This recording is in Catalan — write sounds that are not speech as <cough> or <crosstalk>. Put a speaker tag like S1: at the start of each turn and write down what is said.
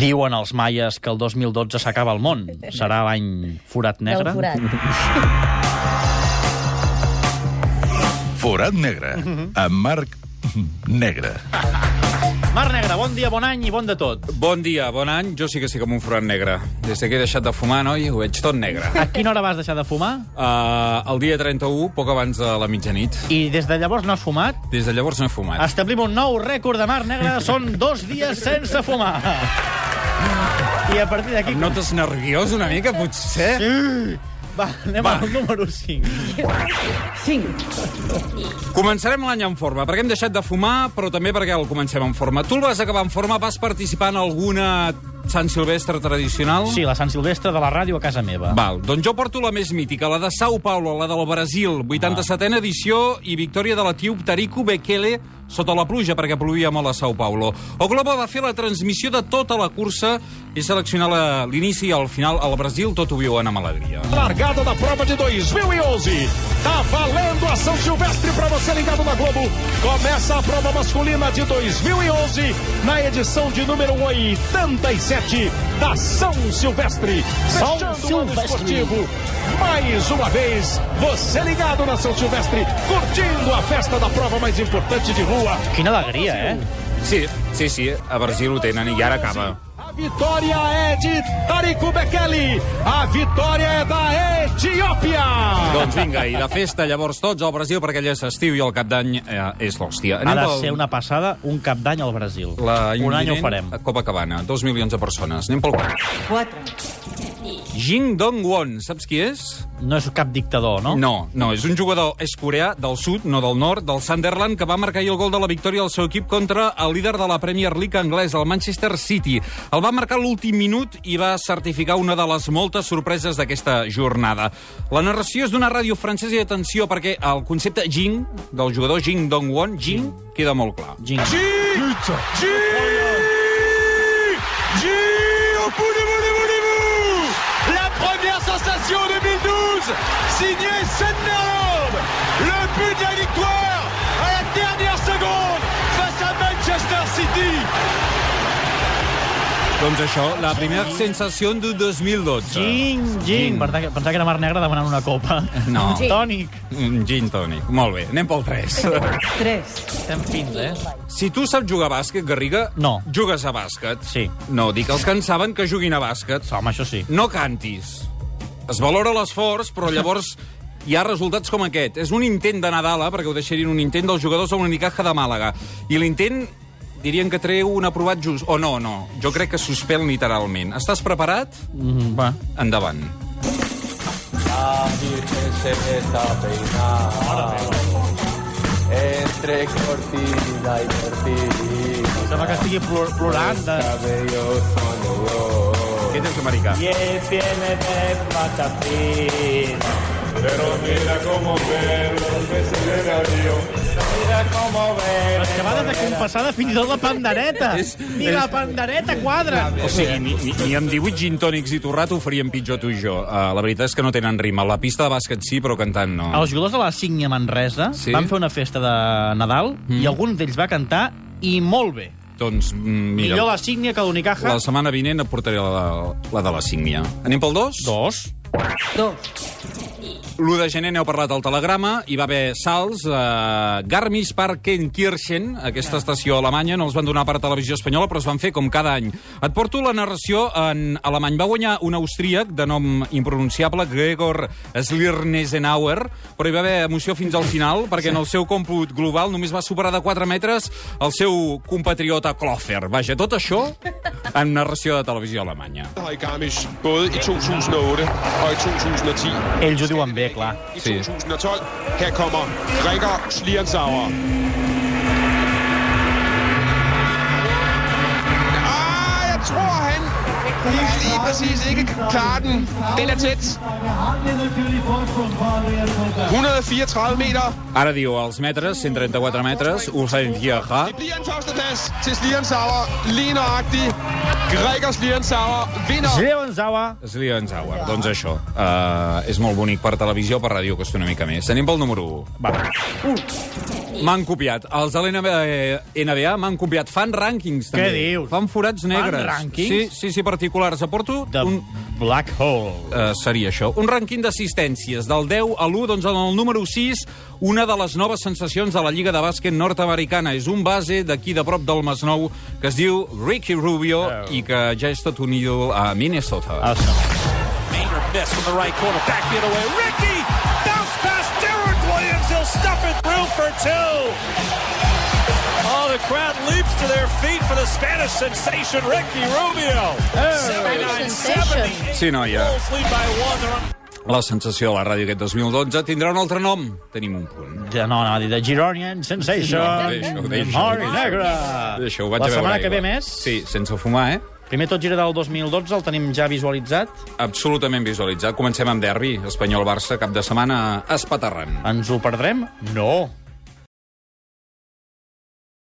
S1: Diuen els maies que el 2012 s'acaba el món. Serà l'any forat negre.
S2: Del forat.
S3: Forat negre, amb Marc Negre.
S1: Mar Negra, bon dia, bon any i bon de tot.
S4: Bon dia, bon any. Jo sí que estic amb un forat negre. Des que he deixat de fumar, noi, ho veig tot negre. <laughs>
S1: A quina hora vas deixar de fumar?
S4: Uh, el dia 31, poc abans de la mitjanit.
S1: I des de llavors no has fumat?
S4: Des de llavors no he fumat.
S1: Establim un nou rècord de Mar Negra. Són dos dies sense fumar. I a partir d'aquí...
S4: Em notes nerviós una mica, potser?
S1: Sí. Va, anem Va.
S4: Va.
S1: al número 5.
S4: Començarem l'any en forma, perquè hem deixat de fumar, però també perquè el comencem en forma. Tu el vas acabar en forma, vas participar en alguna Sant Silvestre tradicional?
S1: Sí, la Sant Silvestre de la ràdio a casa meva.
S4: Val, doncs jo porto la més mítica, la de Sao Paulo, la del Brasil, 87a edició i victòria de l'etíop Tariku Bekele sota la pluja, perquè plovia molt a Sao Paulo. O Globo va fer la transmissió de tota la cursa i seleccionar la- l'inici i al final al Brasil tot ho viuen amb alegria.
S5: Largada da prova de 2011. Tá valendo a São Silvestre para você ligado na Globo. Começa a prova masculina de 2011 na edição de número 87 da São Silvestre.
S2: São
S5: Fechando o ano
S2: Silvestre.
S5: esportivo. Mais uma vez, você ligado na São Silvestre, curtindo a festa da prova mais importante de rua.
S1: Quina alegria, eh?
S4: Sí, sí, sí, a Brasil ho tenen i ara acaba.
S5: A vitória é de Tariku Bekele. A vitória é da Etiópia.
S4: Doncs vinga, i de festa llavors tots al Brasil, perquè allà és estiu i el cap d'any eh, és l'hòstia.
S1: Ha
S4: Anem
S1: de
S4: pel-
S1: ser una passada un cap d'any al Brasil.
S4: La
S1: un any ho
S4: imminent
S1: farem.
S4: A Copacabana, dos milions de persones. Anem pel quart.
S6: 4,
S4: Jing Dong-won, saps qui és?
S1: No és cap dictador, no?
S4: No, no, és un jugador, és coreà, del sud, no del nord, del Sunderland, que va marcar ahir el gol de la victòria del seu equip contra el líder de la Premier League anglès, el Manchester City. El va marcar a l'últim minut i va certificar una de les moltes sorpreses d'aquesta jornada. La narració és d'una ràdio francesa i atenció, perquè el concepte Jing, del jugador Jing Dong-won, Jing, queda molt clar.
S1: Jing.
S5: au bout du bout du bout du bout La première sensation 2012, signé Sunderland Le but de la victoire à la dernière seconde face à Manchester City
S4: Doncs això, la primera sensació de 2012.
S1: Jing, Jing.
S4: Jing.
S1: Per tant, Pensava que era Mar Negra demanant una copa.
S4: No.
S2: Sí.
S1: Tònic.
S4: Mm, Gin tònic. Molt bé, anem pel 3.
S6: 3,
S1: Estem fins, eh?
S4: Si tu saps jugar a bàsquet, Garriga,
S1: No.
S4: jugues a bàsquet.
S1: Sí.
S4: No, dic els que en saben que juguin a bàsquet.
S1: Home, això sí.
S4: No cantis. Es valora l'esforç, però llavors hi ha resultats com aquest. És un intent de Nadala, eh, perquè ho deixarien un intent dels jugadors a Unicaja de Màlaga. I l'intent dirien que treu un aprovat just. O no, no. Jo crec que suspèn literalment. Estàs preparat?
S1: Mm, va.
S4: Endavant.
S7: La Virgen se me está peinada entre cortina y cortina.
S1: Sembla que estigui plor plorant de...
S7: Cabellos son de oro.
S4: Aquest és americà.
S8: Y él viene de Patapín.
S7: Pero mira cómo ve los peces de avión.
S8: Mira cómo ve.
S1: Que va des de compassada fins i tot la pandereta.
S4: És-
S1: Ni la pandereta quadra.
S4: O sigui, ni, ni, ni amb 18 gin tònics i torrat ho faríem pitjor tu i jo. Uh, la veritat és que no tenen rima. La pista de bàsquet sí, però cantant no.
S1: Els jugadors de la Sígnia Manresa sí?
S4: Sí? Mhm.
S1: van fer una festa de Nadal mm. i algun d'ells va cantar i molt bé.
S4: Doncs, mm, mira,
S1: Millor la Sígnia que l'Unicaja.
S4: la setmana vinent et portaré la, de- la de la sígnia. Anem pel 2?
S1: Dos.
S6: 2,
S4: L'1 de gener n'heu parlat al Telegrama, hi va haver salts a eh, Garmisch Partenkirchen, aquesta estació alemanya, no els van donar per televisió espanyola, però es van fer com cada any. Et porto la narració en alemany. Va guanyar un austríac de nom impronunciable, Gregor Slirnesenauer, però hi va haver emoció fins al final, perquè en el seu còmput global només va superar de 4 metres el seu compatriota Kloffer. Vaja, tot això en narració de televisió alemanya.
S5: har i Garmisch både i 2008 og i 2010.
S1: Ells ho diuen bé, clar.
S5: I
S4: Se.
S5: 2012, her kommer Gregor Schlierenzauer. Ah, jeg tror han lige, lige præcis ikke kan klare den. Den er tæt. 134 meter.
S4: Ara diu els metres, 134 metres, Usain Diaha,
S5: Det bliver en førsteplads til Schlierenzauer. Lige nøjagtigt. Gregor Schlierenzauer vinder.
S1: Zeonzawa.
S4: Slienzauer. Doncs això, eh, uh, és molt bonic per televisió, per ràdio, costa una mica més. Anem pel número 1.
S1: Va.
S4: M'han copiat. Els de l'NBA m'han copiat. Fan rànquings, també.
S1: dius?
S4: Fan forats negres.
S1: rànquings?
S4: Sí, sí, sí, particulars. Aporto
S1: The
S4: un...
S1: Black Hole.
S4: Eh, seria això. Un rànquing d'assistències. Del 10 a l'1, doncs en el número 6, una de les noves sensacions de la Lliga de Bàsquet nord-americana. És un base d'aquí de prop del Masnou que es diu Ricky Rubio oh. i que ja és estat unit a Minnesota.
S1: Ah, sí.
S2: Maynard miss from the right corner. Back the other way. Ricky! Bounce past Derrick Williams. He'll stuff it through for two. Oh, the crowd leaps to their feet for the Spanish sensation, Ricky Rubio. 79
S9: sensation.
S2: 78.
S4: Sí, noia.
S2: Bulls lead by one. They're on-
S4: La sensació de la ràdio aquest 2012 tindrà un altre nom. Tenim un punt.
S1: Ja no, anava a dir The Gironian Sensation.
S4: No, deixa-ho, deixa-ho,
S1: Memòria
S4: deixa-ho.
S1: negra.
S4: Això ho vaig
S1: Ah. La
S4: a veure.
S1: setmana que
S4: ahir,
S1: ve
S4: va.
S1: més.
S4: Sí, sense fumar, eh?
S1: Primer tot gira del 2012, el tenim ja visualitzat.
S4: Absolutament visualitzat. Comencem amb derbi. Espanyol-Barça, cap de setmana, espaterrant.
S1: Ens ho perdrem? No.